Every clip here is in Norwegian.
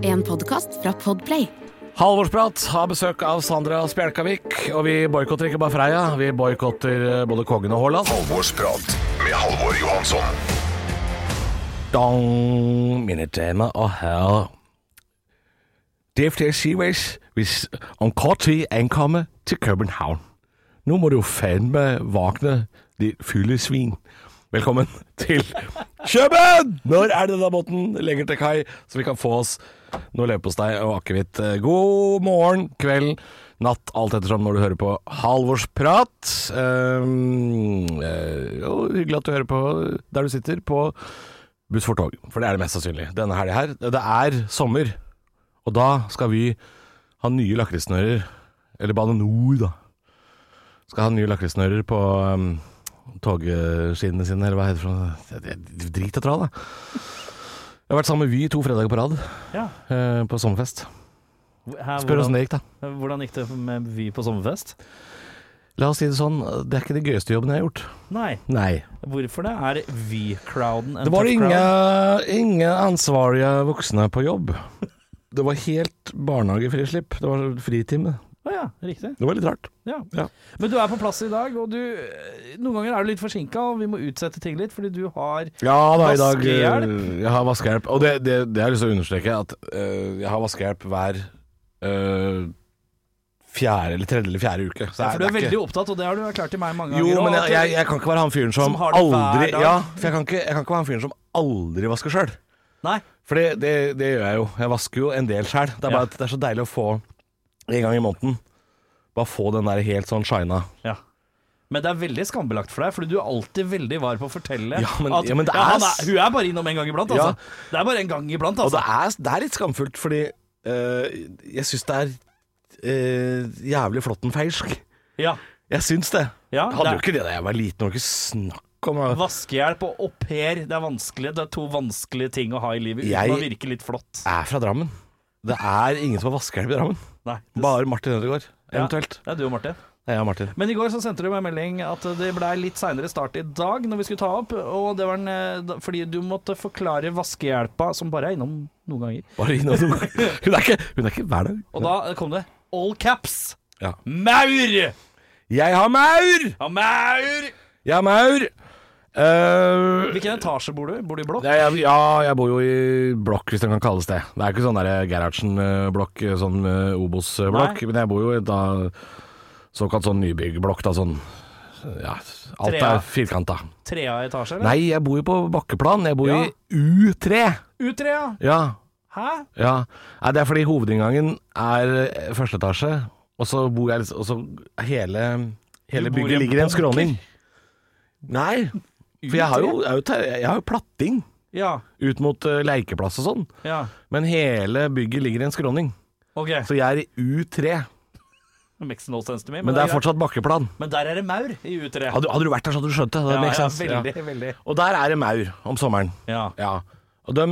En podkast fra Podplay. Halvorsprat har besøk av Sandra Spjelkavik, og vi boikotter ikke bare Freia, vi boikotter eh, både Kongen og Haaland. Halvorsprat med Halvor Johansson. Dong, mine damer og herrer. DFDS Seaways vil s- om kort tid ankomme til København. Nu må du fandme vågne, det fyllesvin. Velkommen til Køben! Når er det da båten legger til kai, så vi kan få oss noe leverpostei og akevitt? God morgen, kveld, natt, alt ettersom når du hører på Halvorsprat. Um, eh, og hyggelig at du hører på eh, der du sitter, på buss for tog. For det er det mest sannsynlig denne helga her. Det er sommer, og da skal vi ha nye lakrisnører. Eller Bane Nor, da. Skal ha nye lakrisnører på um, togskinnene sine, eller hva heter det for noe. Det- det- Drit og trall, da. Jeg har vært sammen med Vy to fredager på rad Ja. eh, på sommerfest. Her, Spør åssen hvordan, det gikk, da. hvordan gikk det med Vy på sommerfest? La oss si det sånn, det er ikke de gøyeste jobbene jeg har gjort. Nei. Nei. Hvorfor det? Er Vy-crowden en Det var tøff crowd? ingen, ingen ansvarlige voksne på jobb. Det var helt barnehagefrislipp. Det var fritime. Å ja, riktig. Det var litt rart. Ja. Ja. Men du er på plass i dag, og du eh, Noen ganger er du litt forsinka, og vi må utsette ting litt, fordi du har Ja da, i dag Vaskehjelp? eh, Jeg har vaskehjelp. Og det, det, det har jeg lyst til å understreke, at eh, jeg har vaskehjelp hver eh, fjerde eller tredje eller fjerde uke. Så ja, er- For du det er er veldig ikke- opptatt, og det har du erklært til meg mange Jo, ganger. men og jeg, at jeg, jeg kan ikke være han fyren som, Som har det hver aldri dag. Ja, for jeg kan, ikke, jeg kan ikke være han fyren som aldri vasker sjøl. Nei. For det, det, det gjør jeg jo. Jeg vasker jo en del sjøl. Det er Ja. bare at det er så deilig å få en gang i måneden. Bare få den der helt sånn shina. Ja. Men det er veldig skambelagt for deg, fordi du er alltid veldig var på å fortelle Ja, men- at ja, men det er- han er, hun er bare innom en gang iblant, Ja. altså. Det er bare en gang iblant, Og altså. det er, det er litt skamfullt, fordi eh, jeg syns det er eh, jævlig flåttenfeilsk. Ja. Jeg syns det. Ja, jeg hadde det er- jo ikke det da jeg var liten. Det var ikke snakk om å- Vaskehjelp og au pair, det er vanskelig. Det er to vanskelige ting å ha i livet uten Jeg- å virke litt flott. Jeg er fra Drammen. Det er ingen som har vaskehjelp i Drammen. Nei, det- Bare Martin Ødegaard, eventuelt. Ja, det er du og Martin. Det er jeg og Martin. Men i går så sendte du meg en melding at det ble litt seinere start i dag når vi skulle ta opp, og det var en, eh, da- fordi du måtte forklare vaskehjelpa, som bare er innom noen ganger. Bare innom noen ganger. Hun er ikke, hun er ikke hver dag. Og da kom det all caps. Ja. Maur! Jeg har maur! Ja, maur! Jeg har maur! Eh, Hvilken etasje bor du? Bor du i blokk? Ja, jeg, ja, jeg bor jo i blokk, hvis den kan kalles det. Det er ikke sånn der Gerhardsen-blokk, sånn eh, Obos-blokk. Nei. Men jeg bor jo i da såkalt sånn nybyggblokk, da sånn Ja, alt Trea. er firkanta. Trea etasje, eller? Nei, jeg bor jo på bakkeplan. Jeg bor Ja. i U3. Utrea! Ja. Hæ? ja. Nei, det er fordi hovedinngangen er eh, første etasje, og så bor jeg litt Og så hele, hele Du bor i bygget en ligger i en bunker? skråning. Nei. For jeg har jo, jeg har jo, ter- jeg har jo platting Ja. ut mot eh, leikeplass og sånn. Ja. Men hele bygget ligger i en skråning, OK. så jeg er i U3. Makes no sense to me. Men det er greit. fortsatt bakkeplan. men der er det maur i Utrea. Hadde, hadde du vært der, så hadde du skjønt det. det Ja, makes ja, sense. veldig, Ja. veldig. Og der er det maur om sommeren. Ja. Ja. Og de,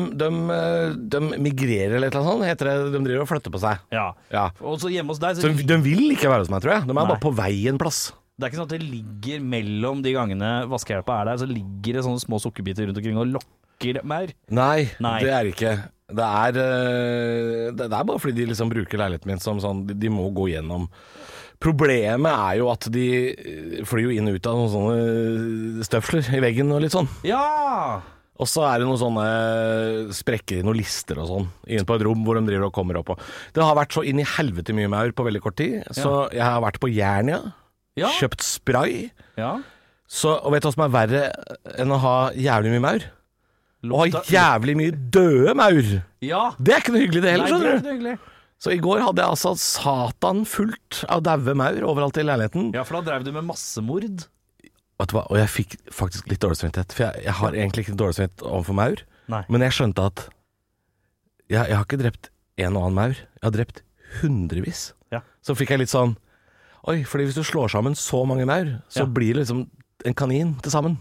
migrerer eller et eller annet sånt, heter det. De driver og flytter på seg. ja. Ja. Og så hjemme hos deg, Så så de, de vil ikke være hos meg, tror jeg. De er Nei. bare på vei en plass. Det er ikke sånn at det ligger mellom de gangene vaskehjelpa er der, så ligger det sånne små sukkerbiter rundt omkring og lokker mer. Nei, Nei. det er det ikke. Det er, eh, det det er bare fordi de liksom bruker leiligheten min som sånn de, de må gå gjennom. Problemet er jo at de eh, flyr jo inn og ut av noen sånne eh, støvler i veggen og litt sånn. Ja! Og så er det noen sånne sprekker i noen lister og sånn, inne på et rom hvor de driver og kommer opp og Det har vært så inn i helvete mye maur på veldig kort tid, så jeg har vært på Jernia, Ja. kjøpt spray, ja. så, og vet du hva som er verre enn å ha jævlig mye maur? Å ha Lukta- jævlig mye døde maur! Ja! Det er ikke noe hyggelig det Nei, heller, det er skjønner du. ikke hyggelig. Så i går hadde jeg altså satan fullt av daue maur overalt i leiligheten. Ja, for da drev du med massemord. Vet du hva, og jeg fikk faktisk litt dårlig samvittighet, for jeg, jeg har egentlig ikke dårlig samvittighet overfor maur. Nei. Men jeg skjønte at jeg, jeg har ikke drept en og annen maur. Jeg har drept hundrevis. Ja. Så fikk jeg litt sånn Oi, fordi hvis du slår sammen så mange maur, så Ja. blir det liksom en kanin til sammen.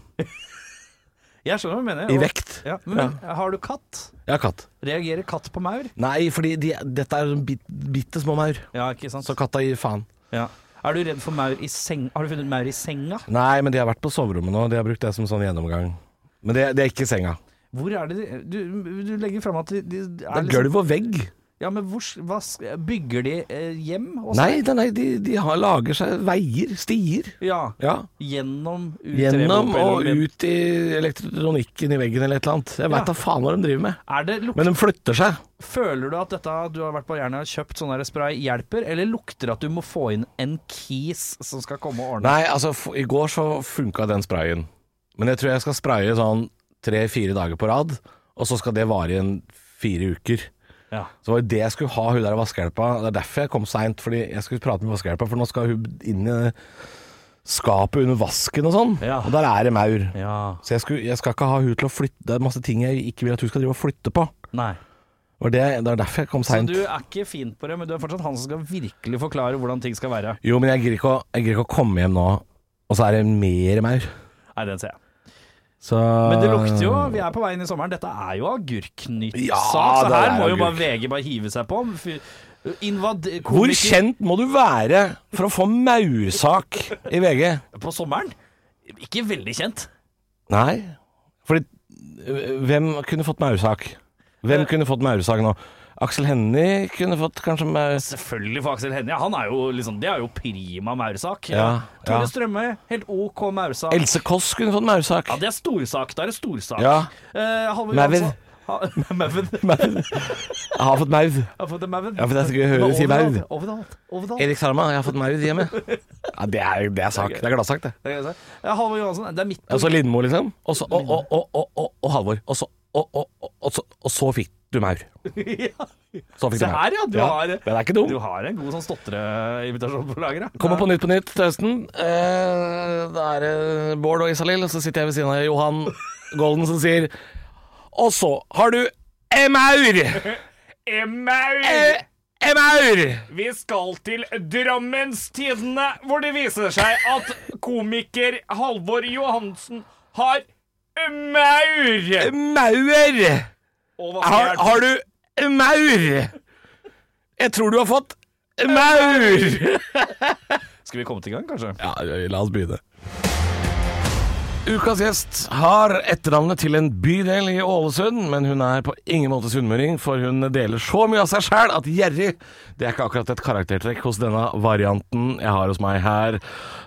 Jeg skjønner hva du mener. I og- vekt. Ja, men har du katt? Jeg har katt. Reagerer katt på maur? Nei, fordi de, dette er sånn bit, bitte små maur. Ja, ikke sant? Så katta gir faen. Ja. Er du redd for maur i seng... Har du funnet maur i senga? Nei, men de har vært på soverommet nå. De har brukt det som sånn gjennomgang. Men det, det er ikke senga. Hvor er det de Du, du legger fram at de, de er Det er liksom- gulv og vegg. Ja, men hvor, s- hva, s- bygger de eh, hjem? også? Nei, nei, nei de, de har, lager seg veier, stier. Ja, Ja. gjennom U3 Gjennom og mopedelen min. ut i elektronikken i veggen eller et eller annet. Jeg Ja. veit da faen hva de driver med. Er det luk Men de flytter seg. Føler du at dette du har vært på jernet og kjøpt sånn der spray hjelper, eller lukter det at du må få inn en kis som skal komme og ordne? Nei, altså, f i går så funka den sprayen. Men jeg tror jeg skal spraye sånn tre-fire dager på rad, og så skal det vare i en fire uker. Ja. Så var det det jeg skulle ha, hun der vaskehjelpa. Det er derfor jeg kom seint, fordi jeg skulle prate med vaskehjelpa, for nå skal hun inn i skapet under vasken og sånn. Ja. Og der er det maur. ja. Så jeg, skulle, jeg skal ikke ha hun til å flytte Det er masse ting jeg ikke vil at hun skal drive og flytte på. Nei. Og det, det er derfor jeg kom Så seint. du er ikke fin på det, men du er fortsatt han som skal virkelig forklare hvordan ting skal være. Jo, men jeg gidder ikke, å- jeg gidder ikke å komme hjem nå, og så er det mer maur. Nei, den ser jeg. Så Men det lukter jo Vi er på vei inn i sommeren. Dette er jo agurknyttsak, Ah. Ja, så det her er må jo agurk. bare VG bare hive seg på. Fy- Invad... Hvor komiker- kjent må du være for å få maursak i VG? På sommeren? Ikke veldig kjent. Nei. Fordi øh, hvem kunne fått maursak? Hvem kunne fått maursak nå? Axel Hennie kunne fått kanskje maur... Selvfølgelig for Aksel Hennie. Han er jo liksom Det er jo prima maursak. Ja, Tore ja. Strømme, helt OK maursak. Else Kåss kunne fått maursak. Ja, det er storsak. Da er det storsak. Ja. Eh, Halvor Maven. Johansson- Ha- Maven. Jeg har fått maur. Jeg har fått en Maven. Ja, for det er så gøy å høre Men si overalt, maur. Overalt. overalt. Erik Sarma, jeg har fått maur hjemme. Ja, det er, det er sak. Det er gladsak, det. Det kan jeg si. Eh, Halvor Johansson, det er midt på Og så Lindmo, liksom. Og så og, og, og, og, og, og Halvor. Og så, og, og, og, og, så, og så fikk du maur. Ja. Så fikk Se du maur. her, ja. Du, har, Den er ikke dum. du har en god sånn stotreinvitasjon på lageret. Kommer på Nytt på Nytt til høsten. Eh, da er det Bård og Isalill, og så sitter jeg ved siden av Johan Golden som sier Og så har du Emaur! Emmaur, Eh, Emaur! vi skal til Drammenstidene, hvor det viser seg at komiker Halvor Johansen har maur. Maur! Og hva er Har, det? har du Emaur? Jeg tror du har fått Maur! Skal vi komme til gang, kanskje? Ja, la oss begynne. Ukas gjest har etternavnet til en bydel i Ålesund, men hun er på ingen måte sunnmøring, for hun deler så mye av seg sjæl at gjerrig Det er ikke akkurat et karaktertrekk hos denne varianten jeg har hos meg her.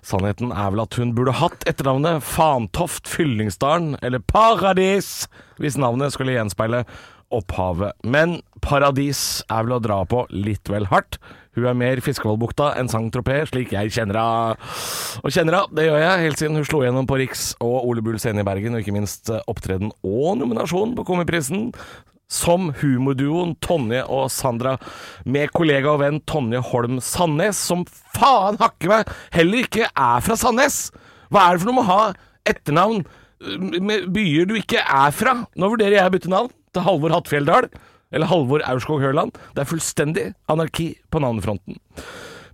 Sannheten er vel at hun burde hatt etternavnet Fantoft Fyllingsdalen, eller Paradis, hvis navnet skulle gjenspeile opphavet. Men paradis er vel å dra på litt vel hardt. Hun er mer Fiskevollbukta enn Saint-Tropez, slik jeg kjenner henne. Og kjenner henne, det gjør jeg, helt siden hun slo gjennom på Riks og Ole Bull scene i Bergen, og ikke minst eh, opptreden og nominasjon på Komiprisen. Som humorduoen Tonje og Sandra, med kollega og venn Tonje Holm Sandnes, som faen hakke meg heller ikke er fra Sandnes! Hva er det for noe med å ha etternavn eh, med byer du ikke er fra? Nå vurderer jeg å bytte navn til Halvor Hattfjelldal, eller Halvor Aurskog Høland. Det er fullstendig anarki på navnefronten.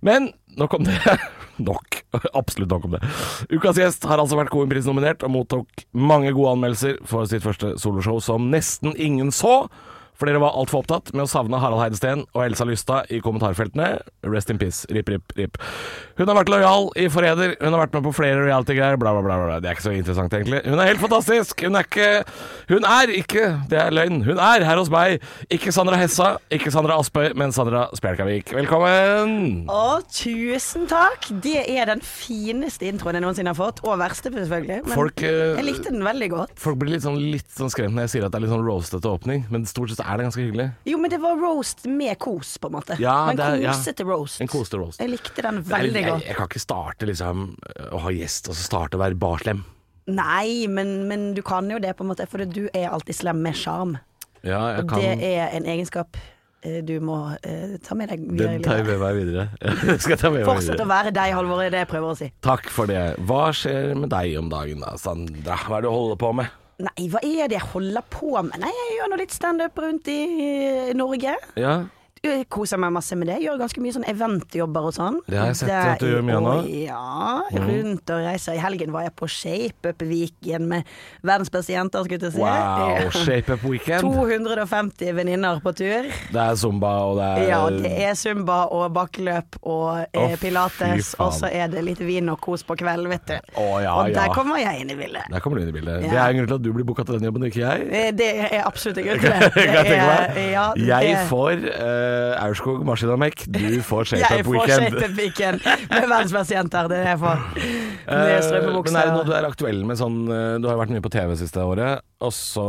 Men nok om det. Nok. Absolutt nok om det. Ukas gjest har altså vært Koenpris-nominert og mottok mange gode anmeldelser for sitt første soloshow som nesten ingen så. For dere var altfor opptatt med å savne Harald Heidesteen og Elsa Lystad i kommentarfeltene. Rest in peace. Rip, rip, rip. Hun har vært lojal i Forræder. Hun har vært med på flere reality-greier. Bla, bla, bla, bla. Det er ikke så interessant, egentlig. Hun er helt fantastisk. Hun er ikke Hun er ikke Det er løgn. Hun er her hos meg. Ikke Sandra Hessa, ikke Sandra Aspøy, men Sandra Spjelkavik. Velkommen! Å, tusen takk! Det er den fineste introen jeg noensinne har fått. Og verste, selvfølgelig. Men Folk, eh, jeg likte den veldig godt. Folk blir litt sånn, litt sånn skremt når jeg sier at det er litt sånn roastete åpning, men stort sett er det ganske hyggelig. Jo, men det var roast med kos, på en måte. Ja, en det er- ja. kosete roast. En kosete roast. Jeg likte den Det er litt- veldig jeg, godt. jeg kan ikke starte liksom å ha gjest, og så starte å være barslem. Nei, men, men du kan jo det, på en måte. For du er alltid slem med sjarm. Ja, jeg Og kan det er en egenskap eh, du må eh, ta med deg videre i Den tar jeg livet. med meg videre. Den skal jeg ta med meg Fortsett å videre. være deg, Halvor, er det jeg prøver å si. Takk for det. Hva skjer med deg om dagen da, Sandra? Hva er det du holder på med? Nei, hva er det jeg holder på med? Nei, jeg gjør nå litt standup rundt i eh, Norge. Ja, ø, koser meg masse med det. Gjør ganske mye sånn eventjobber og sånn. Det har jeg sett at du gjør mye nå. nå. Mm. Ja, rundt og reiser. I helgen var jeg på ShapeUp Viken med verdens beste jenter, skulle jeg til å si. Wow, shape up weekend. 250 venninner på tur. Det er zumba, og det er Ja, det er zumba og bakkeløp og eh, Å, fy pilates, faen. og så er det litt vin og kos på kvelden, vet du. Å, ja, og der ja. kommer jeg inn i bildet. Der kommer du inn i bildet. Ja. Det er en grunn til at du blir booka til den jobben, ikke jeg. Eh, Det er absolutt en grunn til det. Kan jeg Det tenke er- meg? ja, jeg det- får eh, Aurskog Maskinamekk, du får Jeg Shape Up får Weekend. shape weekend med verdens beste jenter. Det er det jeg får. Med Eh, strømpebukser. Men er det noe du er aktuell med sånn eh, Du har jo vært mye på TV siste året, og så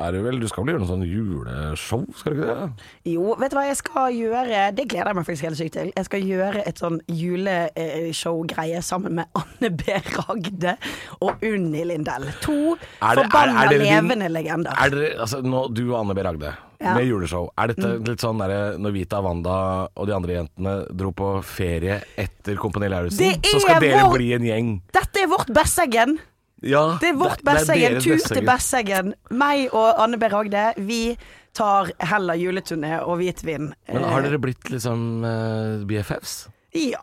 er det vel Du skal vel gjøre noe sånn juleshow, skal du ikke det? Jo, vet du hva jeg skal gjøre? Det gleder jeg meg faktisk helt sykt til. Jeg skal gjøre et sånn juleshow-greie sammen med Anne B. Ragde og Unni Lindell. To Er det- er- forbanna er dere din- levende legender. Er dere, altså, nå, du og Anne B. Ragde Ja. Mm. med juleshow. Er dette litt sånn derre når Vita, Wanda og de andre jentene dro på ferie etter Kompani Lauritzen, Det så skal er dere vår- bli en gjeng? Dette er vårt Besseggen. Ja. Det er vårt det er Besseggen. deres Tur Besseggen. til Besseggen. Meg og Anne B. Ragde, vi tar heller juleturné og hvitvin. Men har dere blitt liksom eh, BFFs? Ja,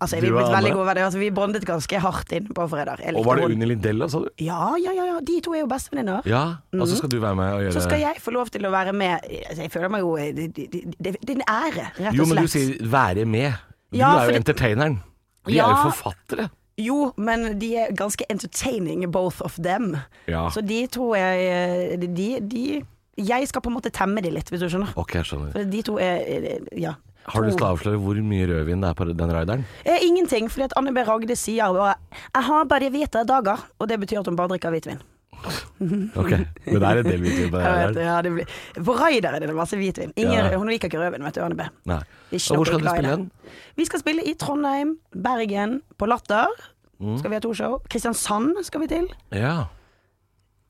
altså vi Du er og blitt Anne? veldig gode venner. Altså, vi bondet ganske hardt inn på fredag. Jeg Og likte var det henne. Unni Lindell, da, sa du? Ja, ja, ja, ja. De to er jo bestevenninner. Ja. Og så skal du være med og gjøre Mm. Så skal jeg få lov til å være med. Altså, jeg føler meg jo Det, det, det, det er en ære, rett og slett. Jo, men du sier 'være med'. Du Ja, er jo fordi- entertaineren. De er Ja. jo forfattere. Jo, men de er ganske entertaining, both of them. Ja. Så de tror jeg de, de, de Jeg skal på en måte temme de litt, hvis du skjønner. Ok, jeg skjønner. For de to er eh, Ja. Har du lyst til to- å avsløre hvor mye rødvin det er på den rideren? Eh, Ingenting, fordi at Anne B. Ragde sier bare 'Jeg har bare hvite dager', og det betyr at hun bare drikker hvitvin. Ok, men det er en del video på den Jeg vet, rideren. ja, det blir, på Raider er det masse hvitvin. Ingen, Ja. Hun liker ikke rødvin, vet du, Anne B. Nei. Ikke Og noe hvor skal du glad i spille det. den? Vi skal spille i Trondheim, Bergen, på Latter. Mm. Skal vi ha to show. Kristiansand skal vi til. Ja.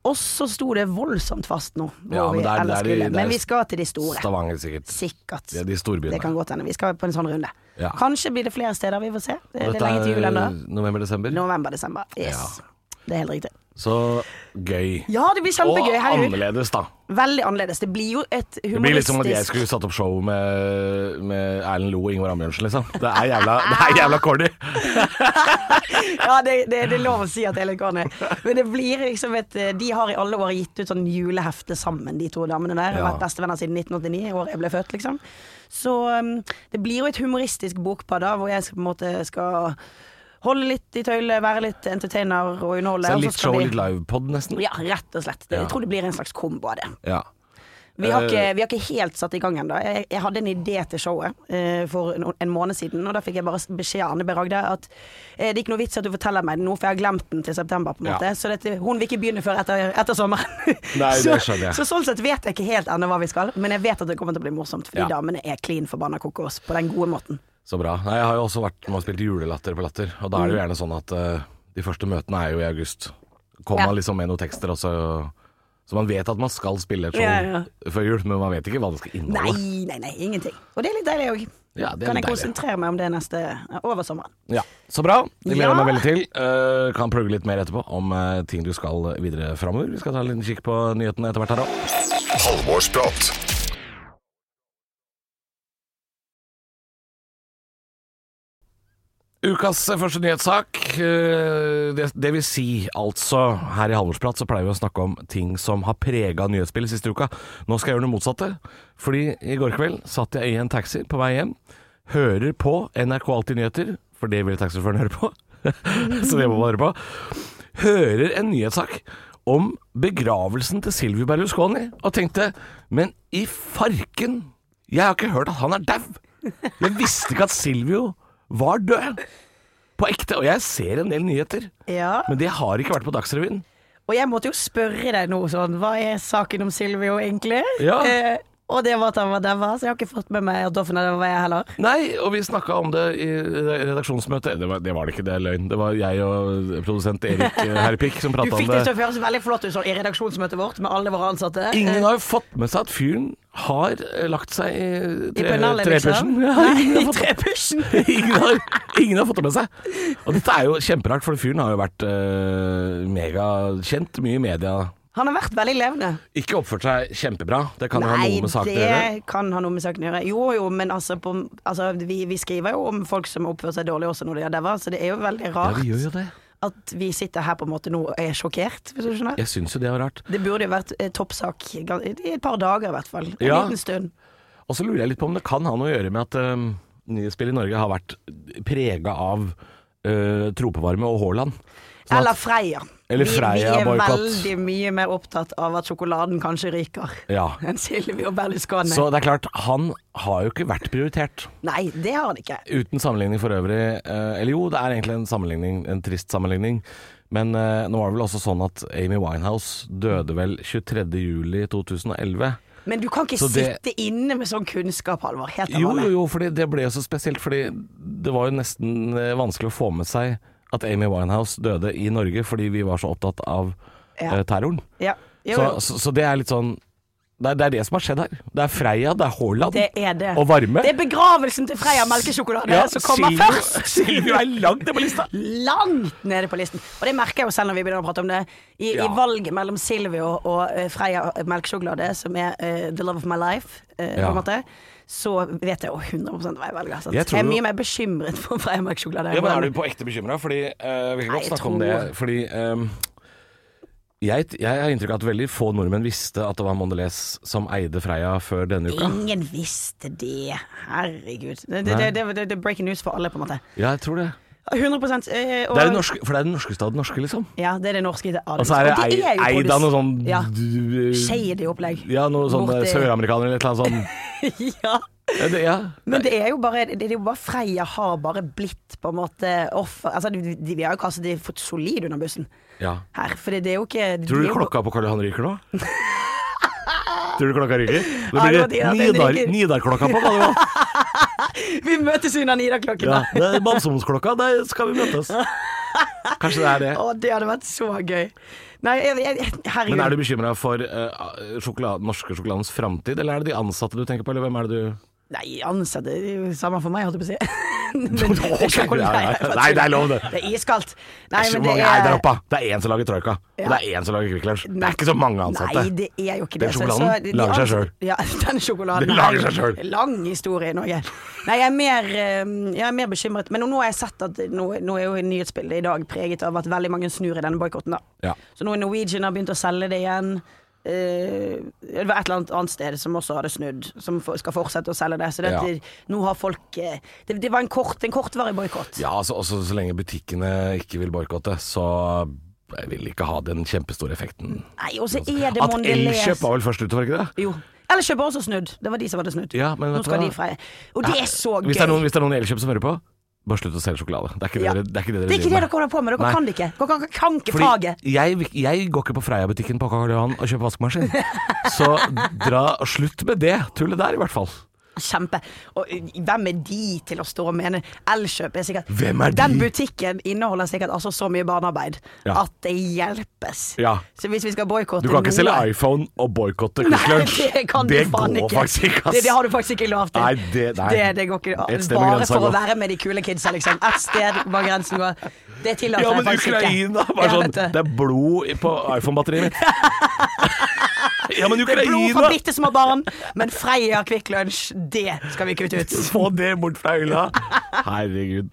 Og så sto det voldsomt fast nå, hvor Ja, men vi det er- det er ellers de- skulle. det er Men vi skal til de store. Stavanger, sikkert. Sikkert. Det er de Det storbyene. kan godt hende. Vi skal på en sånn runde. Ja. Kanskje blir det flere steder, vi får se. Det, det er Dette lenge til jul ennå. er eh, november-desember. November-desember. Yes. Det er helt riktig. Så gøy. Ja, det blir Og kjempegøy. Herregud. annerledes, da. Veldig annerledes. Det blir jo et humoristisk Det blir litt som at jeg skulle satt opp show med, med Erlend Loe og Ingvar Ambjørnsen, liksom. Det er jævla, det er jævla corny. Ja, det, det, det er lov å si at det er litt corny. Men det blir liksom et De har i alle år gitt ut sånn julehefte sammen, de to damene der. Og Ja. vært bestevenner siden 1989, året jeg ble født, liksom. Så um, det blir jo et humoristisk bokpar da, hvor jeg skal, på en måte skal holde litt i tøylet, være litt entertainer og underholde. Så og så litt skal show og vi- litt livepod, nesten. Ja, rett og slett. Det- Ja. Jeg tror det blir en slags kombo av det. Ja. Vi har, Eh, ikke, vi har ikke helt satt i gang ennå. Jeg, jeg hadde en idé til showet eh, for en, en måned siden, og da fikk jeg bare beskjed av Anne B. Ragde at eh, det er ikke noe vits at du forteller meg det nå, for jeg har glemt den til september. på en Ja. måte Så dette, hun vil ikke begynne før etter, etter sommeren. Nei, det så, skjønner jeg. så sånn sett vet jeg ikke helt ennå hva vi skal, men jeg vet at det kommer til å bli morsomt, fordi Ja. damene er klin forbanna kokos på den gode måten. Så bra. Nei, jeg har jo også vært med og spilt julelatter på Latter, og da er det jo Mm. gjerne sånn at eh, de første møtene er jo i august. Kommer Ja. man liksom med noen tekster også, så man vet at man skal spille et show Ja, ja. før jul, men man vet ikke hva det skal Nei, inneholde. nei, nei, ingenting. Og det er litt deilig òg. Ja, det er kan litt jeg deilig. konsentrere meg om det neste eh, over sommeren. Ja, Så bra. Det gleder jeg Ja. meg veldig til. Eh, kan plugge litt mer etterpå om eh, ting du skal videre framover. Vi skal ta en liten kikk på nyhetene etter hvert her òg. Halvorsprat. Ukas første nyhetssak. eh, Det, det vil si, altså Her i Halvorsprat så pleier vi å snakke om ting som har prega nyhetsbildet siste uka. Nå skal jeg gjøre det motsatte. Fordi i går kveld satt jeg i en taxi på vei hjem. Hører på NRK Alltid Nyheter, for det vil taxisjåføren høre på. så det må man høre på. Hører en nyhetssak om begravelsen til Silvio Berlusconi, og tenkte Men i farken! Jeg har ikke hørt at han er dau! Jeg visste ikke at Silvio var død. På ekte. Og jeg ser en del nyheter. Ja. Men det har ikke vært på Dagsrevyen. Og jeg måtte jo spørre deg noe sånn Hva er saken om Silvio egentlig? Ja. Eh, og det var at han var daua, så jeg har ikke fått med meg at Doffen er daua, jeg heller. Nei, og vi snakka om det i redaksjonsmøtet. Det var det, var det ikke, det er løgn. Det var jeg og produsent Erik eh, Herpik som Du prata fikk om det til det. å høres veldig flott ut sånn i redaksjonsmøtet vårt med alle våre ansatte. Eh, Ingen har jo fått med seg at fyren har eh, lagt seg i I pennallet, trepusjen. liksom. Ja, ingen Nei, har i fått- trepusjen. ingen, har, ingen har fått det med seg. Og dette er jo kjemperart, for fyren har jo vært eh, megakjent, mye i media Han har vært veldig levende. Ikke oppført seg kjempebra. Det kan ha Nei, noe med saken å gjøre. det kan ha noe med saken å gjøre. Jo jo, men altså, på, altså vi, vi skriver jo om folk som oppfører seg dårlig også når de er daua, så det er jo veldig Ja, rart vi gjør jo det. at vi sitter her på en måte nå og er sjokkert, hvis du skjønner. Jeg syns jo det var rart. Det burde jo vært eh, toppsak gan- i et par dager i hvert fall. En Ja. liten stund. Og så lurer jeg litt på om det kan ha noe å gjøre med at um, nyhetsspill i Norge har vært prega av eh, tropevarme og Haaland. Sånn at- Eller Freia. Eller vi, vi er Freia-boikott. veldig mye mer opptatt av at sjokoladen kanskje ryker Ja. enn Silvio Berlusconi. Så det er klart, han har jo ikke vært prioritert. Nei, det har han ikke. Uten sammenligning for øvrig eh, Eller jo, det er egentlig en sammenligning, en trist sammenligning. Men eh, nå var det vel også sånn at Amy Winehouse døde vel 23.07.2011. Men du kan ikke Så det- sitte inne med sånn kunnskap, Halvor. Helt Jo, jo, alvorlig. jo, fordi det ble jo så spesielt. Fordi det var jo nesten eh, vanskelig å få med seg at Amy Winehouse døde i Norge fordi vi var så opptatt av Ja. eh, terroren. Ja. Jo, Så, jo. så, så det er litt sånn det er, det er det som har skjedd her. Det er Freia, det er Haaland Det er det. og varme. Det er begravelsen til Freia melkesjokolade Ja, som kommer Silvio- først. Silvio er langt ned på lista. Langt nede på listen. Og det merker jeg jo selv når vi begynner å prate om det. I, i Ja. valget mellom Silvio og eh, Freia melkesjokolade, som er eh, the love of my life, eh, på Ja. en måte, så vet jeg jo 100 hva jeg velger. Altså. Jeg Jeg, tror er jo- mye mer bekymret for Freia melkesjokolade. Ja, men er du på ekte bekymra? Fordi eh, Vi kan Nei, godt jeg snakke om det. tror- Fordi ehm, jeg, jeg har inntrykk av at veldig få nordmenn visste at det var Mondelez som eide Freia før denne uka. Ingen visste det. Herregud. Det, det, Nei. det, det, det, det er breaking news for alle, på en måte. Ja, jeg tror det. 100 eh, og, det er det norske, for det er den norske staden norske, liksom. Ja, det er det norske. Det er Og så er det ei, eid av noe sånn Ja. d- Shady opplegg. Ja, noe sånn Borti- søramerikaner eller et eller annet sånt. ja. Ja, det, ja. Men det er jo bare, det er jo bare Freia har bare blitt på en måte offer altså, de, de, Vi har jo kastet de fått solid under bussen ja. her, for det er jo ikke de Tror er du jo- klokka på Karl Johan ryker nå? Tror du klokka ryker? Ja, Da det blir var det det at den Nidar- ryker. Nidar-klokka på, kan det være. Vi møtes under Nida-klokken! Ja, da. det er Balsomsklokka, der skal vi møtes. Kanskje det er det. Å, det hadde vært så gøy. Nei, jeg, jeg, herregud. Men er du bekymra for eh, sjokolade, norske sjokoladens framtid, eller er det de ansatte du tenker på, eller hvem er det du Nei, ansatte det er jo Samme for meg, holdt jeg på å si. Men Nei, nei, nei, det er lov, det. Det er iskaldt. Det Nei, er så men mange det er der er oppe. Det er én som lager troika, Ja. og det er én som lager Kvikk Lunsj. Det Nei. er ikke så mange ansatte. Nei, det er jo ikke det. Den Så- sjokoladen så de lager seg ans- selv. Ja, den sjokoladen Den her- lager seg selv. Lang historie i Norge. Nei, jeg er mer, eh, jeg er mer bekymret. Men nå- nå har jeg sett at nå, nå er jo nyhetsbildet i dag preget av at veldig mange snur i denne boikotten. Ja. Så nå er Norwegian har begynt å selge det igjen. Eh, det var et eller annet annet sted som også hadde snudd, som for, skal fortsette å selge det. Så det, at Ja. det- nå har folk eh, det, det var en, kort, en kortvarig boikott. Ja, altså, også så lenge butikkene ikke vil boikotte, så jeg vil ikke ha den kjempestore effekten. Nei, og så er det At Mondelez. Elkjøp var vel først ute, var det ikke det? Jo. Eller kjøper også snudd. Det var de som hadde snudd. Ja, men Nå vet du skal hva? de fra Og det er så gøy. Hvis det er noen, hvis det er noen i Elkjøp som hører på, bare slutt å selge sjokolade. Det er ikke det Ja. dere, det er ikke det dere Det er ikke det driver dere holder på med. Dere Nei. kan det ikke. Dere kan ikke kanke Fordi faget. jeg, vil- jeg går ikke på Freia-butikken på Karl Johan og kjøper vaskemaskin. Så dra slutt med det tullet der, i hvert fall. Ah, Kjempe. Og ø, hvem er de til å stå og mene Elkjøp er sikkert Hvem er de? Den butikken inneholder sikkert altså så mye barnearbeid Ja. at det hjelpes. Ja. Så hvis vi skal Du boikotte kan ikke selge iPhone og boikotte Quick Nei, Lunch. det kan du faen går ikke. faktisk ikke, ass. Det, det har du faktisk ikke lov til. Nei, det- nei. Det, det går ikke. Et sted må Bare grensa for gå. å være med de kule kidsa, liksom. Ett sted hvor grensen går. Det tillater Ja, jeg men faktisk ikke. Ukraina var Ja, sånn vet du. Det er blod i- på iPhone-batteriet mitt. Ja, men Det er blod fra Ukraina! bitte små barn, men Freia Kvikk Lunsj, det skal vi kutte ut. Få det bort fra hylla. Herregud.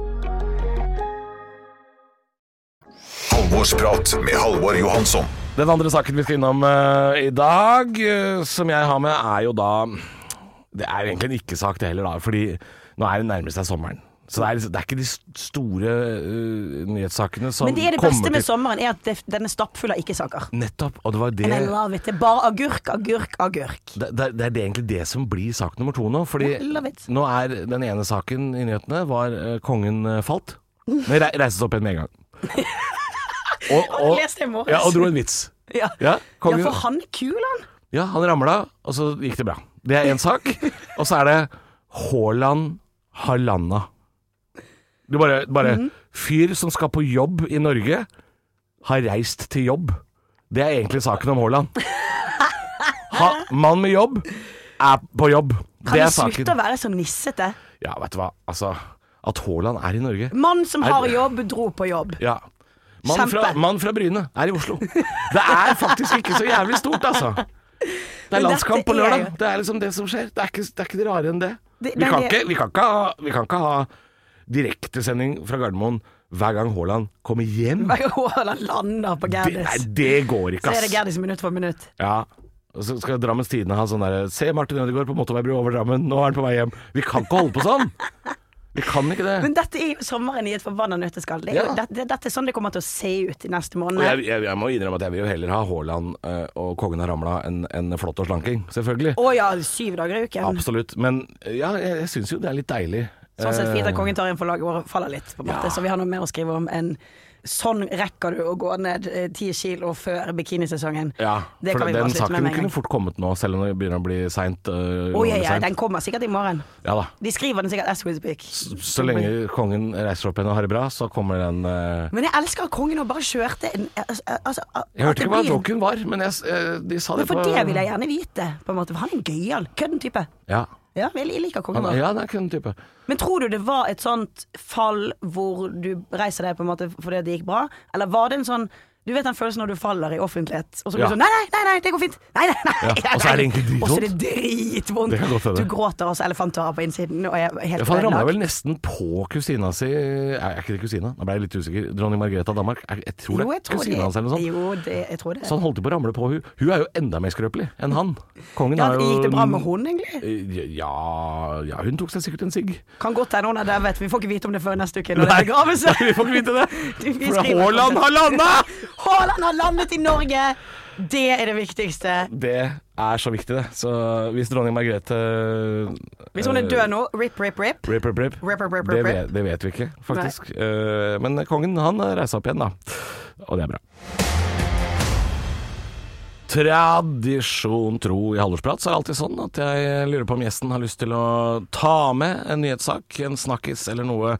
Halvorsprat med Halvor Johansson. Den andre saken vi skal innom eh, i dag, eh, som jeg har med, er jo da Det er egentlig en ikke-sak, det heller, da. Fordi nå er det nærmest seg sommeren. Så det er, liksom- det er ikke de s- store eh, nyhetssakene som Men det er det kommer beste med til sommeren, er at det, den er stappfull av ikke-saker. Nettopp. Og det var det And I love it. Det er bare agurk, agurk, agurk. det, det, er- det er det egentlig det som blir sak nummer to nå. Fordi Ja, love it. nå er den ene saken i nyhetene var eh, kongen eh, falt. Nei, re reises opp igjen med en gang. Og, leste i morges. ja, og dro en vits. Ja. Ja, ja, kongen, for han er kul, han. Ja, han ramla, og så gikk det bra. Det er én sak. Og så er det Haaland Halanda. Du bare, bare Mhm. Fyr som skal på jobb i Norge, har reist til jobb. Det er egentlig saken om Haaland. Ha, mann med jobb er på jobb. Kan det du er slutte å saken. være så nissete? Ja, vet du hva. Altså, at Haaland er i Norge Mann som Er- har jobb, dro på jobb. Ja. Mann fra, Kjempe. mann fra Bryne er i Oslo. Det er faktisk ikke så jævlig stort, altså. Det er Men landskamp på dette er lørdag. jo- Det er liksom det som skjer. Det er ikke, det er ikke det rare enn det. Det- Vi det er kan det- ikke, vi kan ikke ha, vi kan ikke ha direktesending fra Gardermoen hver gang Haaland kommer hjem. Hver gang Haaland lander på Det, nei, Gerdis, det går så ikke, er det ass. Gerdis minutt for minutt. Ja. Og så skal Drammens Tidende ha sånn derre Se Martin Ødegaard på motorveibru over Drammen, nå er han på vei hjem. Vi kan ikke holde på sånn! Vi kan ikke det. Men dette er jo sommeren i et forbanna nøtteskall. Det er jo, Ja. dette, dette er sånn det kommer til å se ut i neste Og jeg, måned. jeg, jeg må innrømme at jeg vil jo heller ha Haaland eh, og kongen av Ramla enn en flott og slanking, selvfølgelig. Å ja, syv dager i uken. Absolutt. Men eh, ja, jeg, jeg syns jo det er litt deilig. Sånn sett fint Eh, at kongen tar inn for laget og faller litt, på en måte. Ja. Så vi har noe mer å skrive om enn sånn rekker du å gå ned eh, ti kilo før bikinisesongen. ja, det for kan vi bare den slutte med saken med en kunne gang. fort kommet nå, selv om det begynner å bli seint. Å ja, ja, den kommer sikkert i morgen. ja da. De skriver den sikkert as we speak. Så Mm. lenge kongen reiser opp igjen og har det bra, så kommer den eh, Men jeg elsker at kongen og bare kjørte en altså, altså, Jeg at det hørte ikke hva blir en- joken var, men jeg, s- eh, de sa Men det for på det vil jeg gjerne vite, på en måte. For han er en gøyal, kødden type. Ja, Ja, jeg liker kongen han, vår. ja det er ikke den type. Men tror du det var et sånt fall hvor du reiser deg på en måte fordi det gikk bra, eller var det en sånn du vet den følelsen når du faller i offentlighet, og så blir Ja. du sånn nei, nei, nei, nei, det går fint. Nei, nei, nei, Ja, nei, og så er det nei. egentlig dritvondt. Og så er det dritvondt. Det kan godt hende. Du gråter, og så elefanter på innsiden, og jeg er helt Ja, for han ramla ødelagt. vel nesten på kusina si Er, er ikke det kusina? Da ble jeg litt usikker. Dronning Margrethe av Danmark? Jeg, jeg tror det Jo, er jeg tror kusina hans eller noe det. sånt. Sånn, Jo, det, jeg tror det. Så han holdt jo på å ramle på hun. Hun er jo enda mer skrøpelig enn han. Kongen ja, har jo gikk det bra med hun, egentlig? Eh, Ja, ja, hun tok seg sikkert en sigg. Kan godt hende hun er der, vet vi. Vi får ikke vite om det før neste uke. Når det er begravelse. vi får ikke vite det. Vi- vi For skriver Haaland kanskje. har landa! Haaland har landet i Norge! Det er det viktigste. Det er så viktig, det. Så hvis dronning Margrethe eh, Hvis hun er død nå, rip, rip, rip. Rip, rip, rip. Rip, rip, rip, Det, rip, rip. vet, det vet vi ikke, faktisk. Eh, men kongen han reiser opp igjen, da. Og det er bra. Tradisjon tro i Halvorsprat så er det alltid sånn at jeg lurer på om gjesten har lyst til å ta med en nyhetssak, en snakkis eller noe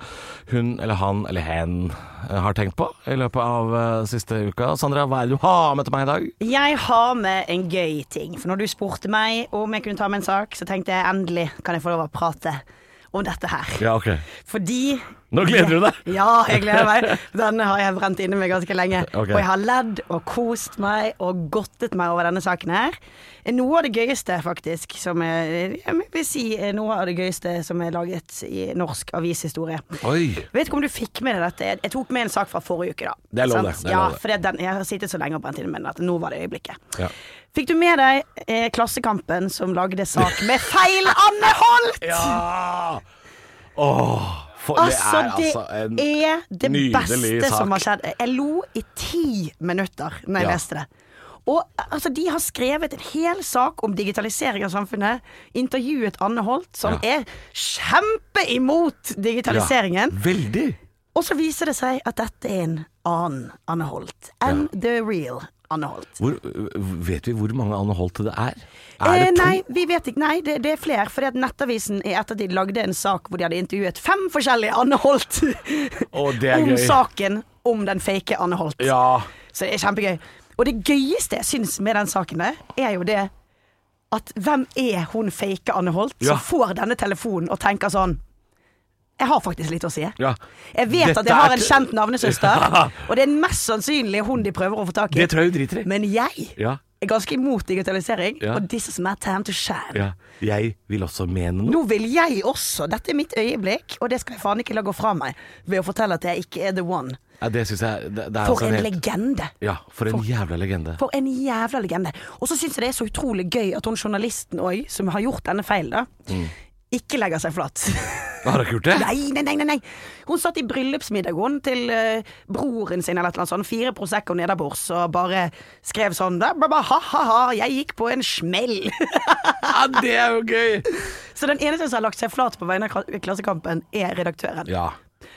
hun eller han eller hen eh, har tenkt på i løpet av eh, siste uka. Sandra, hva er det du har med til meg i dag? Jeg har med en gøy ting. For når du spurte meg om jeg kunne ta med en sak, så tenkte jeg endelig kan jeg få lov å prate om dette her. Ja, ok. Fordi Nå gleder du deg! Ja, jeg gleder meg. Denne har jeg brent inne med ganske lenge. Ok. Og jeg har ledd og kost meg og godtet meg over denne saken her. Noe av det gøyeste, faktisk, som er, jeg vil si er noe av det gøyeste som er laget i norsk avishistorie. Oi. Vet ikke om du fikk med deg dette. Jeg- Jeg tok med en sak fra forrige uke, da. Det er lov, det. Sant? Det er ja, lov, det. for det, den, jeg har sittet så lenge og brent inne med den at nå var det øyeblikket. Ja. Fikk du med deg eh, Klassekampen som lagde sak med feil Anne Holt? Ja! Åh, for Altså, det det er altså en er det nydelig beste sak. som har skjedd. Jeg lo i ti minutter når jeg Ja. leste det. Og altså, De har skrevet en hel sak om digitalisering av samfunnet. Intervjuet Anne Holt, som Ja. er kjempeimot digitaliseringen. Ja, veldig. Og så viser det seg at dette er en annen Anne Holt. And the real Anne Holt. Hvor, vet vi hvor mange Anne Holt det er? Er det eh, to? nei, vi vet ikke. Nei, det, det er flere. Fordi at Nettavisen i ettertid lagde en sak hvor de hadde intervjuet fem forskjellige Anne Holt Å, det er om gøy. saken om den fake Anne Holt. Ja. Så det er kjempegøy. Og det gøyeste jeg syns med den saken der, er jo det at hvem er hun fake Anne Holt Ja. som får denne telefonen og tenker sånn Jeg har faktisk litt å si. ja. Jeg vet Dette at jeg har er en t- kjent navnesøster, Ja. og det er mest sannsynlig hun de prøver å få tak i. Det tror jeg hun driter i. Men jeg Ja. er ganske imot digitalisering, Ja. og this is my time to shine. ja. Jeg vil også mene noe. Nå vil jeg også, dette er mitt øyeblikk, og det skal jeg faen ikke la gå fra meg ved å fortelle at jeg ikke er the one. Ja, det syns jeg det, det er For altså en helt- legende. Ja, for en jævla legende. For en jævla legende. Og så syns jeg det er så utrolig gøy at hun journalisten òg, som har gjort denne feilen, da, Mm. ikke legger seg flat. Har dere ikke gjort det? Nei, nei, nei, nei, nei. Hun satt i bryllupsmiddag hun, til eh, broren sin eller et eller annet sånt. Fire Prosecco nedabords og bare skrev sånn da, ba, ba, ha, ha, ha, jeg gikk på en smell. Ja, det er jo gøy! Så den eneste som har lagt seg flat på vegne av Klassekampen, er redaktøren. Ja.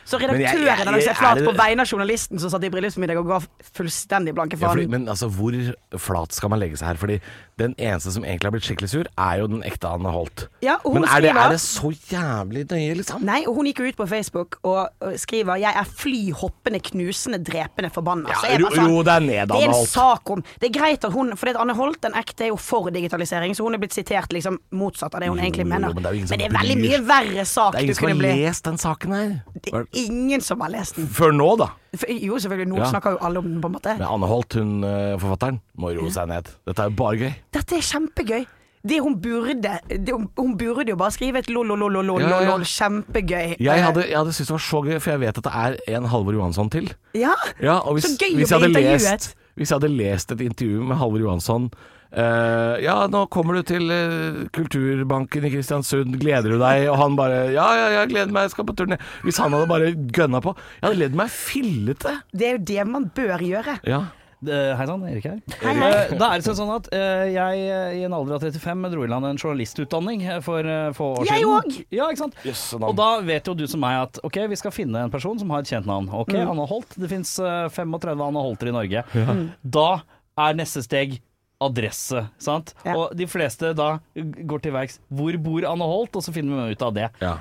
Så jeg- jeg- redaktøren hadde jeg- sett flat er på det- vegne av journalisten som satt i bryllupsmiddag og ga fullstendig blanke Ja, fordi, faen. men altså, hvor flat skal man legge seg her? Fordi den eneste som egentlig har blitt skikkelig sur, er jo den ekte Anne Holt. Ja, og hun men er det, skriver- er det så jævlig nøye, liksom? Nei, og Hun gikk jo ut på Facebook og og skriver 'Jeg er fly hoppende, knusende, drepende forbanna'. Ja, Så altså, jeg bare ro- ro deg ned, Det er Anne en Holt. sak om Det er greit at hun For Anne Holt, den ekte, er jo for digitalisering, så hun er blitt sitert liksom motsatt av det hun Jo, jo, egentlig mener. men det er jo ingen som er veldig bryr- mye verre sak Det er du ingen som kunne har bli. lest den saken her. Det Var er det- ingen som har lest den. Før nå, da. For, jo, selvfølgelig. Noen Ja. snakker jo alle om den, på en måte. Men Anne Holt, hun eh, forfatteren, må roe seg ned. Dette er jo bare gøy. Dette er kjempegøy. Det hun burde det hun, hun burde jo bare skrive et lol-lol-lol-lol. Ja, ja. Kjempegøy. Jeg hadde, jeg hadde syntes det var så gøy, for jeg vet at det er en Halvor Johansson til. Ja. Ja, og hvis, Så gøy å hvis jeg bli hadde intervjuet. lest, hvis jeg hadde lest et intervju med Halvor Johansson eh, ja, nå kommer du til eh, Kulturbanken i Kristiansund, gleder du deg? Og han bare Ja, ja, jeg gleder meg, jeg skal på turné. Hvis han hadde bare gønna på Jeg hadde ledd meg fillete. Det er jo det man bør gjøre. Ja. Eh, Hei sann, Erik her. Hei, hei. Eh, Da er det sånn at eh, jeg eh, i en alder av 35 dro i land en journalistutdanning eh, for eh, få år Jeg siden. òg! Ja, ikke sant? og da vet jo du som meg at ok, vi skal finne en person som har et kjent navn. Ok, Anne Holt. Det eh, fins 35 Anne Holter i Norge. Mm. Da er neste steg adresse, sant? Ja. Og de fleste da går til verks hvor bor Anne Holt, og så finner vi ut av det. Ja.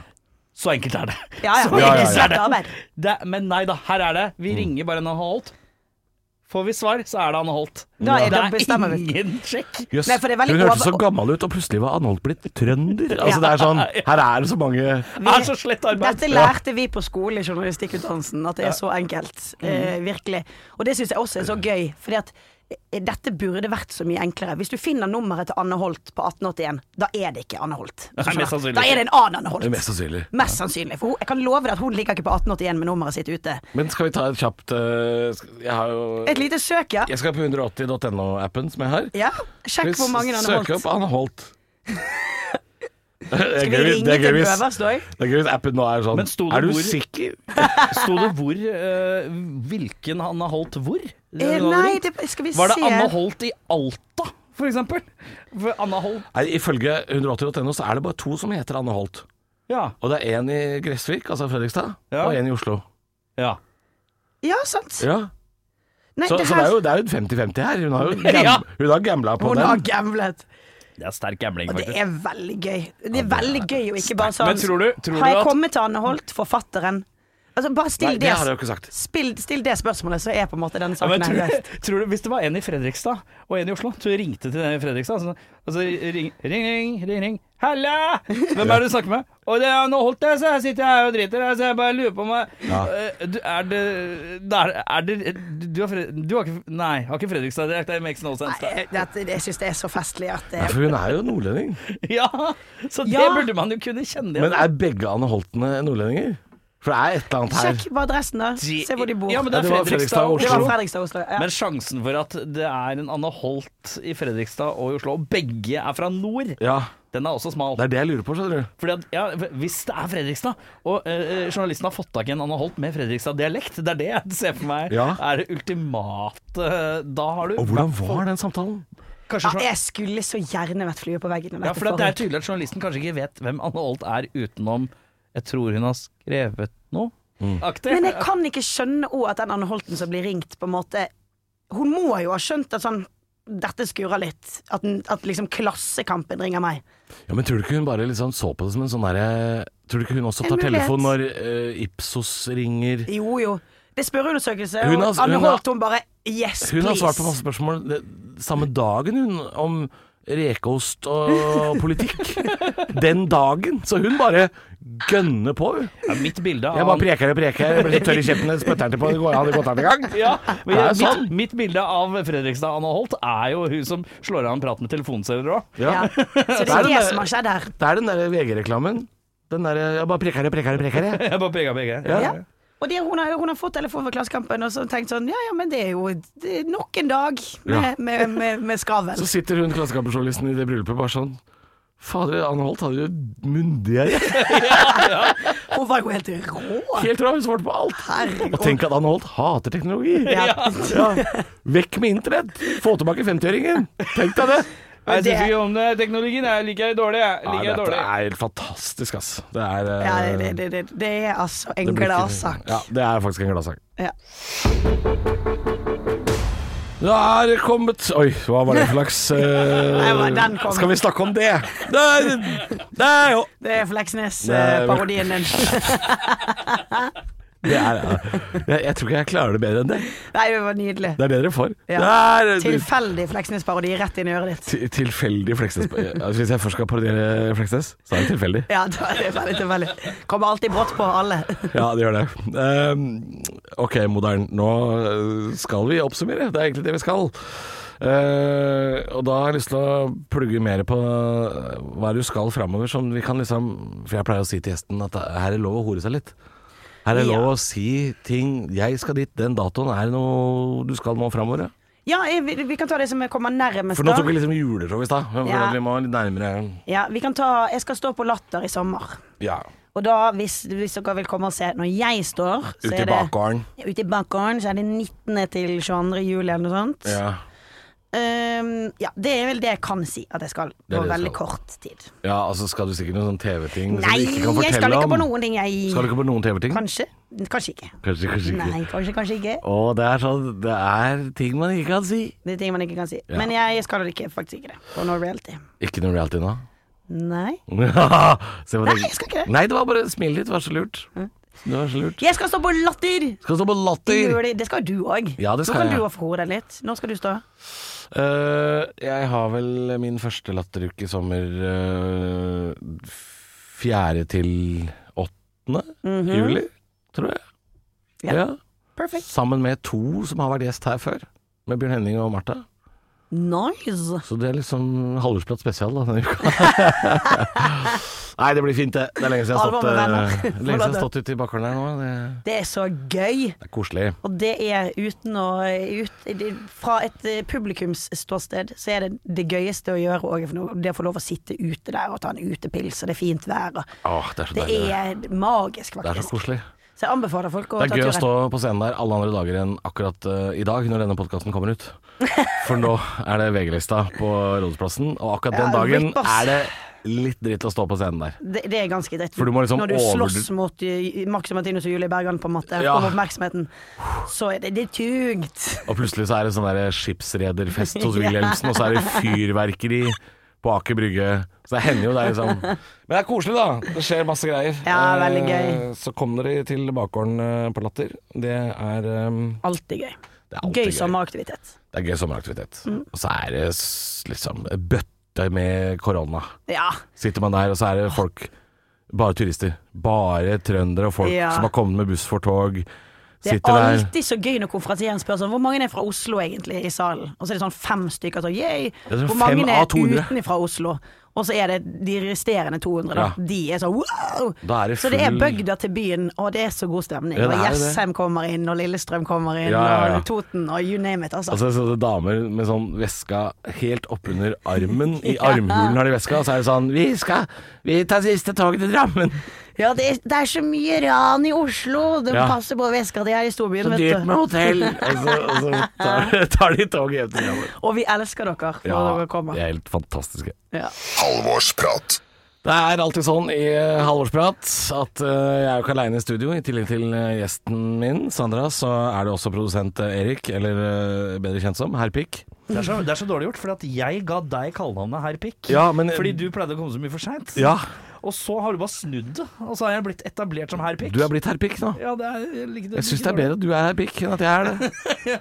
Så enkelt er det. Ja, ja. Så Det Ja, ja, ja. er enkelt er svart det. arbeid. det. Men nei da, her er det. Vi ringer bare Anne Holt. Får vi svar, så er det Anne Holt. Da er det- det bestemmer er vi. ingen sjekk. Jøss, Nei, for det er veldig Hun hørtes så over- gammel ut, og plutselig var Anne Holt blitt trønder. Altså, det er sånn, her er det så mange Det er så slett arbeid. Dette lærte vi på skolen i journalistikkutdannelsen, at det er så enkelt. Mhm. Eh, virkelig. Og det syns jeg også er så gøy, fordi at eh, dette burde vært så mye enklere. Hvis du finner nummeret til Anne Holt på 1881, da er det ikke Anne Holt. Nei, mest sannsynlig Da er det en annen Anne Det er Holt. Mest sannsynlig. Mest sannsynlig. For hun, jeg kan love deg at hun ligger ikke på 1881 med nummeret sitt ute. Men skal vi ta et kjapt eh, sk- Jeg har jo Et lite søk, ja. Jeg skal på 180.no-appen som jeg har. ja. Sjekk Hvis- hvor mange Anne Søk Holt. opp Anne Holt. Det er gøy Skal vi hvis- det ringe er gøy til den hvis- øverst òg? Det er gøy hvis appen nå er sånn Men sto det Er du hvor- sikker? Sto det hvor eh, Hvilken Anne Holt hvor? Eh, nei, det, skal vi se Var det Anne Holt i Alta, for eksempel? For Anne Holt Nei, ifølge 180.no så er det bare to som heter Anne Holt. Ja. Og det er én i Gressvik, altså Fredrikstad, Ja. og én i Oslo. ja. Ja, sant. Ja. Nei, Så, det så det her- er jo det er jo et 50-50 her. Hun har jo Ja. gam, hun har gambla på Hun har den. gamblet. Det er sterk gambling, Og det faktisk. er veldig gøy. Det er veldig gøy å ikke bare sånn Men tror du- tror Har du jeg at- kommet til Anne Holt, forfatteren? Altså, bare still Nei, det det, har jeg jo ikke sagt. spill, still det spørsmålet, så er på en måte denne Ja, men saken tror, her løst. du, tror du, Hvis det var en i Fredrikstad og en i Oslo, så ringte til den i Fredrikstad så, altså, ring, ring, ring, ring, ring. Halla! Hvem er det du snakker med? Og det er nå holdt det, så jeg sitter her og driter. Så jeg bare lurer på om jeg Eh, du, Er det, det er, er det du, har Fred, du har ikke Nei, har ikke Fredrikstad direkt. Det makes no sense. Nei, dette, jeg syns det er så festlig at eh, det Ja, for hun er jo nordlending. Ja, så det Ja. burde man jo kunne kjenne Men er begge Anne Holtene nordlendinger? For det er et eller annet her. Sjekk bare adressen, da. De- Se hvor de bor. Ja, men det Ja, er det var Fredrikstad og Fredrikstad det var Oslo. Fredrikstad og Oslo. Ja. Men sjansen for at det er en Anne Holt i Fredrikstad og i Oslo, og begge er fra nord, Ja, den er også smal. det er det jeg lurer på, skjønner du. Fordi at, ja, Hvis det er Fredrikstad, og eh, journalisten har fått tak i en Anne Holt med Fredrikstad-dialekt, det er det jeg ser for meg Ja. er det ultimate eh, Da har du Og hvordan var den samtalen? kanskje, Ja, journa- jeg skulle så gjerne vært flue på veggen. ja, for det er tydelig at journalisten kanskje ikke vet hvem Anne Holt er utenom Jeg tror hun har skrevet noe. Mm. Aktig. Men jeg kan ikke skjønne òg at den Anne Holten som blir ringt, på en måte Hun må jo ha skjønt at sånn dette skurrer litt. At, den- at liksom Klassekampen ringer meg. Ja, men tror du ikke hun bare liksom så på det som en sånn derre Tror du ikke hun også En tar mulighet. telefon når eh, Ipsos ringer? Jo, jo. Det er spørreundersøkelse, Hun og har- Anne hun har- Holt hun bare Yes, Hun har please. svart på masse spørsmål det, samme dagen, hun, om rekeost og politikk. Den dagen. Så hun bare gønner på. hun. Ja, mitt bilde av Jeg bare Anne- preker og preker, jeg blir litt tørr i kjeften, spytter på, det går an i godt an i gang. Ja, men Det er jeg, mitt, sånn. mitt bilde av Fredrikstad Anna Holt er jo hun som slår av en prat med telefonselger òg. Ja. Så det Der er er den det der- som har skjedd her. Det er den derre VG-reklamen. Den derre Jeg bare preker og preker og preker, jeg. Jeg bare peka begge. Ja. Ja. Og det, hun, har, hun har fått telefon fra Klassekampen og så tenkt sånn Ja ja, men det er jo det er nok en dag Ja. med, med, med, med skravel. Så sitter hun klassekampjournalisten i det bryllupet bare sånn Fader, Anne Holt hadde jo mundigere. Hun var jo helt rå. Helt rå, hun svarte på alt. Herregud. Og tenk at Anne Holt hater teknologi. Ja. Vekk med internett! Få tilbake 50-åringen! Tenk deg det! Jeg det- syns ikke om det. Teknologien er liker jeg dårlig. Jeg liker jeg Nei, dette dårlig. er helt fantastisk, ass. Det er eh, Ja, det, det, det, det er altså det en blir ikke- gladsak. Ja, det er faktisk en gladsak. Ja. Da er det kommet Oi, hva var det for slags eh, Nei, den kom. Skal vi snakke om det? Det er, det er jo Det er Nei, men- Fleksnes-parodien din. det er, jeg, jeg tror ikke jeg klarer det bedre enn det. Nei, det var nydelig. Det er det dere får. Ja. Det er eh, Tilfeldig Fleksnes-parodi rett inn i øret ditt. til- tilfeldig Fleksnes. Altså, hvis jeg først skal parodiere Fleksnes, så er det tilfeldig. Ja, det er det veldig tilfeldig. Kommer alltid brått på alle. Ja, det gjør det. Ehm, ok, Modern. Nå eh, skal vi oppsummere. Det er egentlig det vi skal. Eh, og da har jeg lyst til å plugge mer på eh, hva du skal framover, som vi kan liksom For jeg pleier å si til gjesten at her er lov å hore seg litt. Her er Ja. lov å si ting 'Jeg skal dit, den datoen'. Er det noe du skal nå framover? ja? Ja, jeg- vi, vi kan ta det som jeg kommer nærmest. For nå da. tok vi liksom juleshow i stad. men Ja. Vi må litt nærmere Ja, vi kan ta Jeg skal stå på Latter i sommer. Ja. Og da, hvis, hvis dere vil komme og se når jeg står så Ute er i det- bakgården. Ute i bakgården, så er det 19. til 22. juli eller noe sånt. Ja. Ehm, ja, det er vel det jeg kan si at jeg skal Det er på det du veldig skal. kort tid. ja, altså skal du sikkert noen sånne TV-ting som Nei, du ikke kan jeg fortelle skal ikke om? på noen ting, jeg. Skal du ikke på noen TV-ting? Kanskje. Kanskje ikke. Kanskje, kanskje ikke. Nei, kanskje, kanskje ikke. Og det er sånn Det er ting man ikke kan si. Det er ting man ikke kan si. Ja. Men jeg skal ikke, faktisk ikke det. På No Reality. Ikke noe reality nå? Nei. Se på Nei, det. jeg skal ikke det. Nei, det var bare smil litt. Vær så lurt. Det var så lurt. Jeg skal stå på Latter! Skal stå på Det, gjør latter. det. det skal du òg. Ja, det skal Nå kan jeg. du òg få hodet litt. Når skal du stå? Eh, jeg har vel min første latteruke i sommer eh, Fjerde til åttende juli, tror jeg. Mhm. Ja. ja. Perfect. Sammen med to som har vært gjest her før. Med Bjørn Henning og Martha. Nice! Så det er liksom halvårsplatt spesial da, denne uka. Nei, det blir fint, det. Det er lenge siden jeg har Alvor stått, med eh, venner. lenge siden jeg har stått ute i bakgården her nå. Det, Det er så gøy! det er koselig. Og det er uten å ut, det- Fra et eh, publikumsståsted så er det det gøyeste å gjøre òg. Det å få lov å sitte ute der og ta en utepils, og det er fint vær. Og Åh, det er så det deilig. Det. er magisk, Det er så faktisk. koselig. Så jeg anbefaler folk å Det ta er gøy å stå turen. på scenen der alle andre dager enn akkurat eh, i dag, når denne podkasten kommer ut. For nå er det VG-lista på Rådhusplassen, og akkurat den Ja, dagen rip, ass. er det litt dritt å stå på scenen der. Det, det er ganske dritt. For du må liksom Når du over- slåss mot eh, Max og Martinus og Julie Bergan på en måte Ja. om oppmerksomheten, så er det, det er tungt. Og plutselig så er det sånn der skipsrederfest hos Wilhelmsen, og så er det fyrverkeri på Aker Brygge. Så det hender jo det, er liksom. Men det er koselig, da. Det skjer masse greier. Ja, veldig Eh, Så kom dere til bakgården eh, på Latter. Det er, eh, Alltid gøy. det er alltid Gøy Mm. sommeraktivitet. Det er gøy sommeraktivitet. Og så er det s- liksom bøtte med korona. Ja. Sitter man der, og så er det folk Bare turister. Bare trøndere og folk Ja. som har kommet med buss for tog. Det Sitter er der. alltid så gøy når konferansieren spør sånn Hvor mange er fra Oslo egentlig i salen? Og så er det sånn fem stykker sånn yay! er sånn Hvor fem mange av er 200. utenfra Oslo? Og så er det de resterende 200, da. Ja. De er sånn wow! Da er det Så det er full- bygda til byen, og det er så god stemning. Ja, det og er det. Jessheim kommer inn, og Lillestrøm kommer inn, Ja, ja, ja. og Toten, og you name it, altså. Altså sånne damer med sånn veska helt oppunder armen. I armhulen har de veska, og så er det sånn Vi skal Vi tar siste toget til Drammen. Ja, det er, det er så mye ran i Oslo! De Ja. passer på veska di her i storbyen, Så dyrt vet med du. hotell. Og så, og så tar, tar de toget hjem til Drammen. Og vi elsker dere når dere de kommer. er helt fantastiske. Ja. Halvorsprat. Det er alltid sånn i eh, Halvorsprat at eh, jeg er jo ikke aleine i studio. I tillegg til eh, gjesten min, Sandra, så er det også produsent eh, Erik, eller eh, bedre kjent som Herr Pikk. Det er, så, det er så dårlig gjort, for at jeg ga deg kallenavnet herr Pikk. Ja, men- eh, Fordi du pleide å komme så mye for seint. Ja, Og så har du bare snudd det, og så har jeg blitt etablert som herr Pikk. du er blitt Herr Pikk nå. ja, det er, jeg liker Jeg syns det er like dårlig, bedre at du er Herr Pikk enn at jeg er det.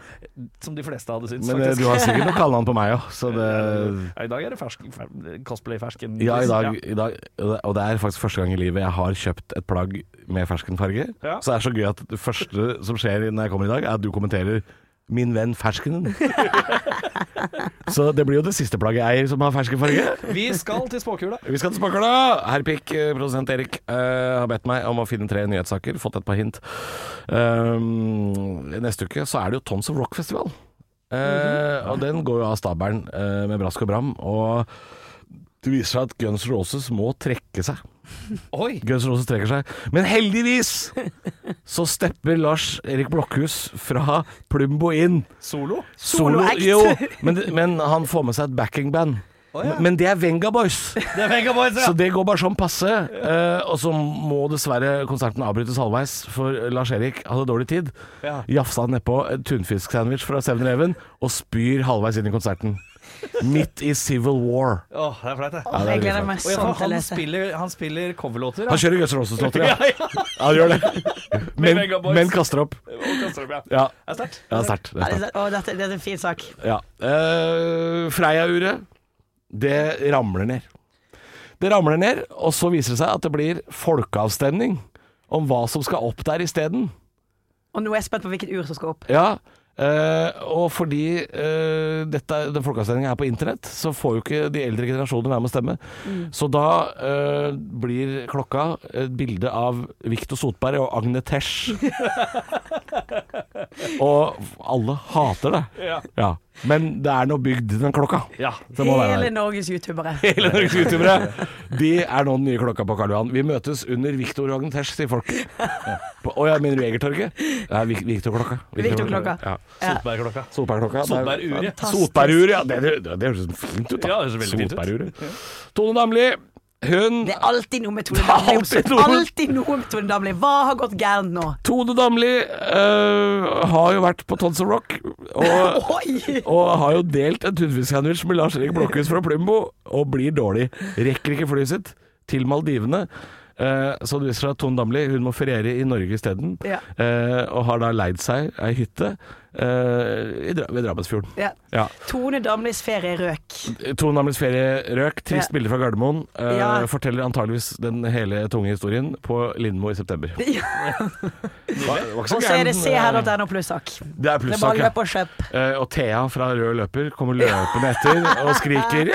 Som de fleste hadde syntes, Men eh, faktisk. du har sikkert noe kallenavn på meg òg, så det Ja, I dag er det fersk, fer- cosplay-fersken. Ja, i dag, Ja. i dag Og det er faktisk første gang i livet jeg har kjøpt et plagg med ferskenfarge. Ja. Så det er så gøy at det første som skjer når jeg kommer i dag, er at du kommenterer 'Min venn ferskenen'. så det blir jo det siste plagget jeg eier som har ferskenfarge. Vi skal til spåkula. Vi skal til spåkula! Herr Pikk, eh, produsent Erik, eh, har bedt meg om å finne tre nyhetssaker. Fått et par hint. Um, neste uke så er det jo Tons of Rock-festival. Eh, Og den går jo av stabelen eh, med brask og bram. Og det viser seg at Guns N' Roses må trekke seg. Oi! Guns N' Roses trekker seg. Men heldigvis så stepper Lars Erik Blokhus fra Plumbo inn. Solo? Solo, Soloact. jo, men, men han får med seg et backingband. Men det er Venga Boys. Det er Venga Boys, ja. Så det går bare sånn passe. Eh, og så må dessverre konserten avbrytes halvveis, for Lars-Erik hadde dårlig tid. Ja. Jafsa nedpå en tunfisksandwich fra 7-Eleven og spyr halvveis inn i konserten. Midt i Civil War. Åh, det er flaut, det. Ja, det er Jeg gleder litt meg Og ja, sånn for til å han, lese. spiller, han spiller coverlåter. Han Han kjører Guns N' Roses-låter, ja. ja, ja. Ja, han gjør det. Men, Venga Boys. men kaster opp. Ja, Det er sterkt. det er sterkt. Det Ja, er sterkt. det- Å, dette, dette er en fin sak. Ja. Eh, Freia-uret, det ramler ned. Det ramler ned, og så viser det seg at det blir folkeavstemning om hva som skal opp der isteden. Og nå er jeg spent på hvilket ur som skal opp. Ja, eh, og fordi eh, dette, den folkeavstemninga er på internett, så får jo ikke de eldre generasjonene være med å stemme. Så da eh, blir klokka et bilde av Viktor Sotberg og Agne Tesh. og alle hater det. Ja. Men det er nå bygd, den klokka. Ja. Det må være Hele der. Norges youtubere. Hele Norges youtubere. De er nå den nye klokka på Karl Johan. Vi møtes under Viktor og Agne Tesh, sier folk. På- Å ja, mener du Egertorget? Ja, Viktor-klokka. Viktor-klokka. Ja. Ja. Solbergklokka. Solbærklokka. Solbæruret. Solbæruret, ja. Det, det, det høres fint ut, da. Ja, det høres veldig fint ut. Solbæruret. Tone Damli, hun Det er alltid noe med Tone Det er Damli. alltid noe- Alltid noe med Tone Damli. Hva har gått gærent nå? Tone Damli øh, har jo vært på Tons of Rock, og, Oi! og har jo delt en tunfisksandwich med Lars Erik Blokhus fra Plumbo, og blir dårlig. Rekker ikke flyet sitt til Maldivene. Eh, så det viser seg at Tone Damli hun må feriere i Norge isteden, Ja. Eh, og har da leid seg ei hytte eh, i, Dra- ved Drammensfjorden. Ja. Ja. Tone Damlis ferie røk. Tone Damlis ferie røk. Trist Ja. bilde fra Gardermoen. Eh, Ja. Forteller antageligvis den hele tunge historien på Lindmo i september. Det var ikke så Og så er gæren, eh, det se her.no pluss-sak. Det er Det er plussak, bare ja. løp og kjøp. Eh, og Thea fra Rød Løper kommer løpende etter og skriker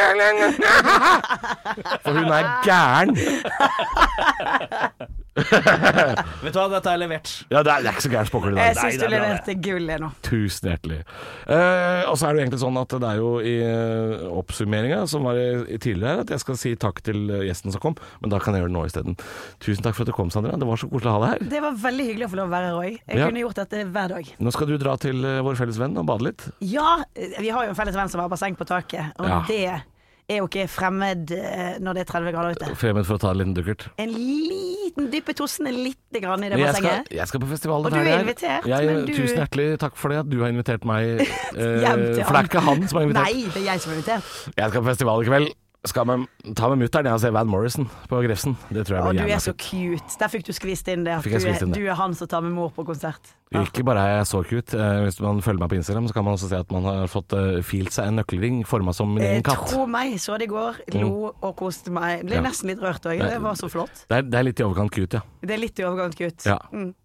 For hun er gæren! Vet du hva, dette er levert. Ja, det er, det er ikke så gæren spåkule i dag. Jeg syns du leverte gull jeg, nå. Tusen hjertelig. Eh, og så er det jo egentlig sånn at det er jo i uh, oppsummeringa som var i, i tidligere her, at jeg skal si takk til eh, gjesten som kom, men da kan jeg gjøre det nå isteden. Tusen takk for at du kom, Sandra. Det var så koselig å ha deg her. Det var veldig hyggelig å få lov å være her òg. Jeg Ja. kunne gjort dette hver dag. Nå skal du dra til eh, vår felles venn og bade litt. Ja, vi har jo en felles venn som har basseng på taket, og Ja. det er jo ikke fremmed eh, når det er 30 grader ute. Fremmed for å ta en liten dukkert. En liten dyppe tossene lite grann i det Men Jeg skal, bassenget. jeg skal på festival. Og denne du er helgen her. invitert, jeg, men du- Tusen hjertelig takk for det at du har invitert meg. eh, Hjem for til det han. er ikke han som har invitert. Nei, det er jeg som er invitert. Jeg skal på festival i kveld. Skal med, ta med mutter'n og se Van Morrison på Grefsen. Det tror Å, jeg du blir er jævla så fint. cute. Der fikk du skvist inn det. at Fikk Du jeg skvist er, inn det. du er han som tar med mor på konsert. Ikke bare er jeg så cute. eh, Hvis man følger meg på Instagram, så kan man også se at man har fått eh, filt seg en nøkkelring forma som min Eh, egen katt. Mm. Tro meg, så det i går. Lo og koste meg. Ble Ja. nesten litt rørt òg. Det var så flott. Det er, det er litt i overkant cute, ja. Det er litt i overkant, Mm. gutt. ja.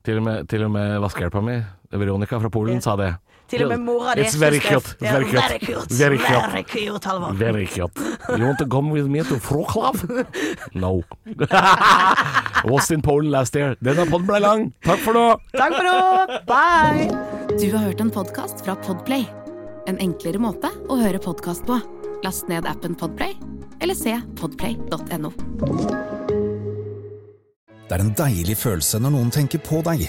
Til og med, til og med vaskehjelpa mi, Veronica fra Polen, sa det. Til og med mora di It's very synes det er- cute. Ja, Very cute. Very cute. Very cute. Very cute, Halvor. Very cute. You want to come with me to Frocklav? No. Was in Poland last year. Denne podden ble lang. Takk for nå. Takk for nå. Bye. Du har hørt en podkast fra Podplay. En enklere måte å høre podkast på. Last ned appen Podplay, eller se podplay.no. Det er en deilig følelse når noen tenker på deg.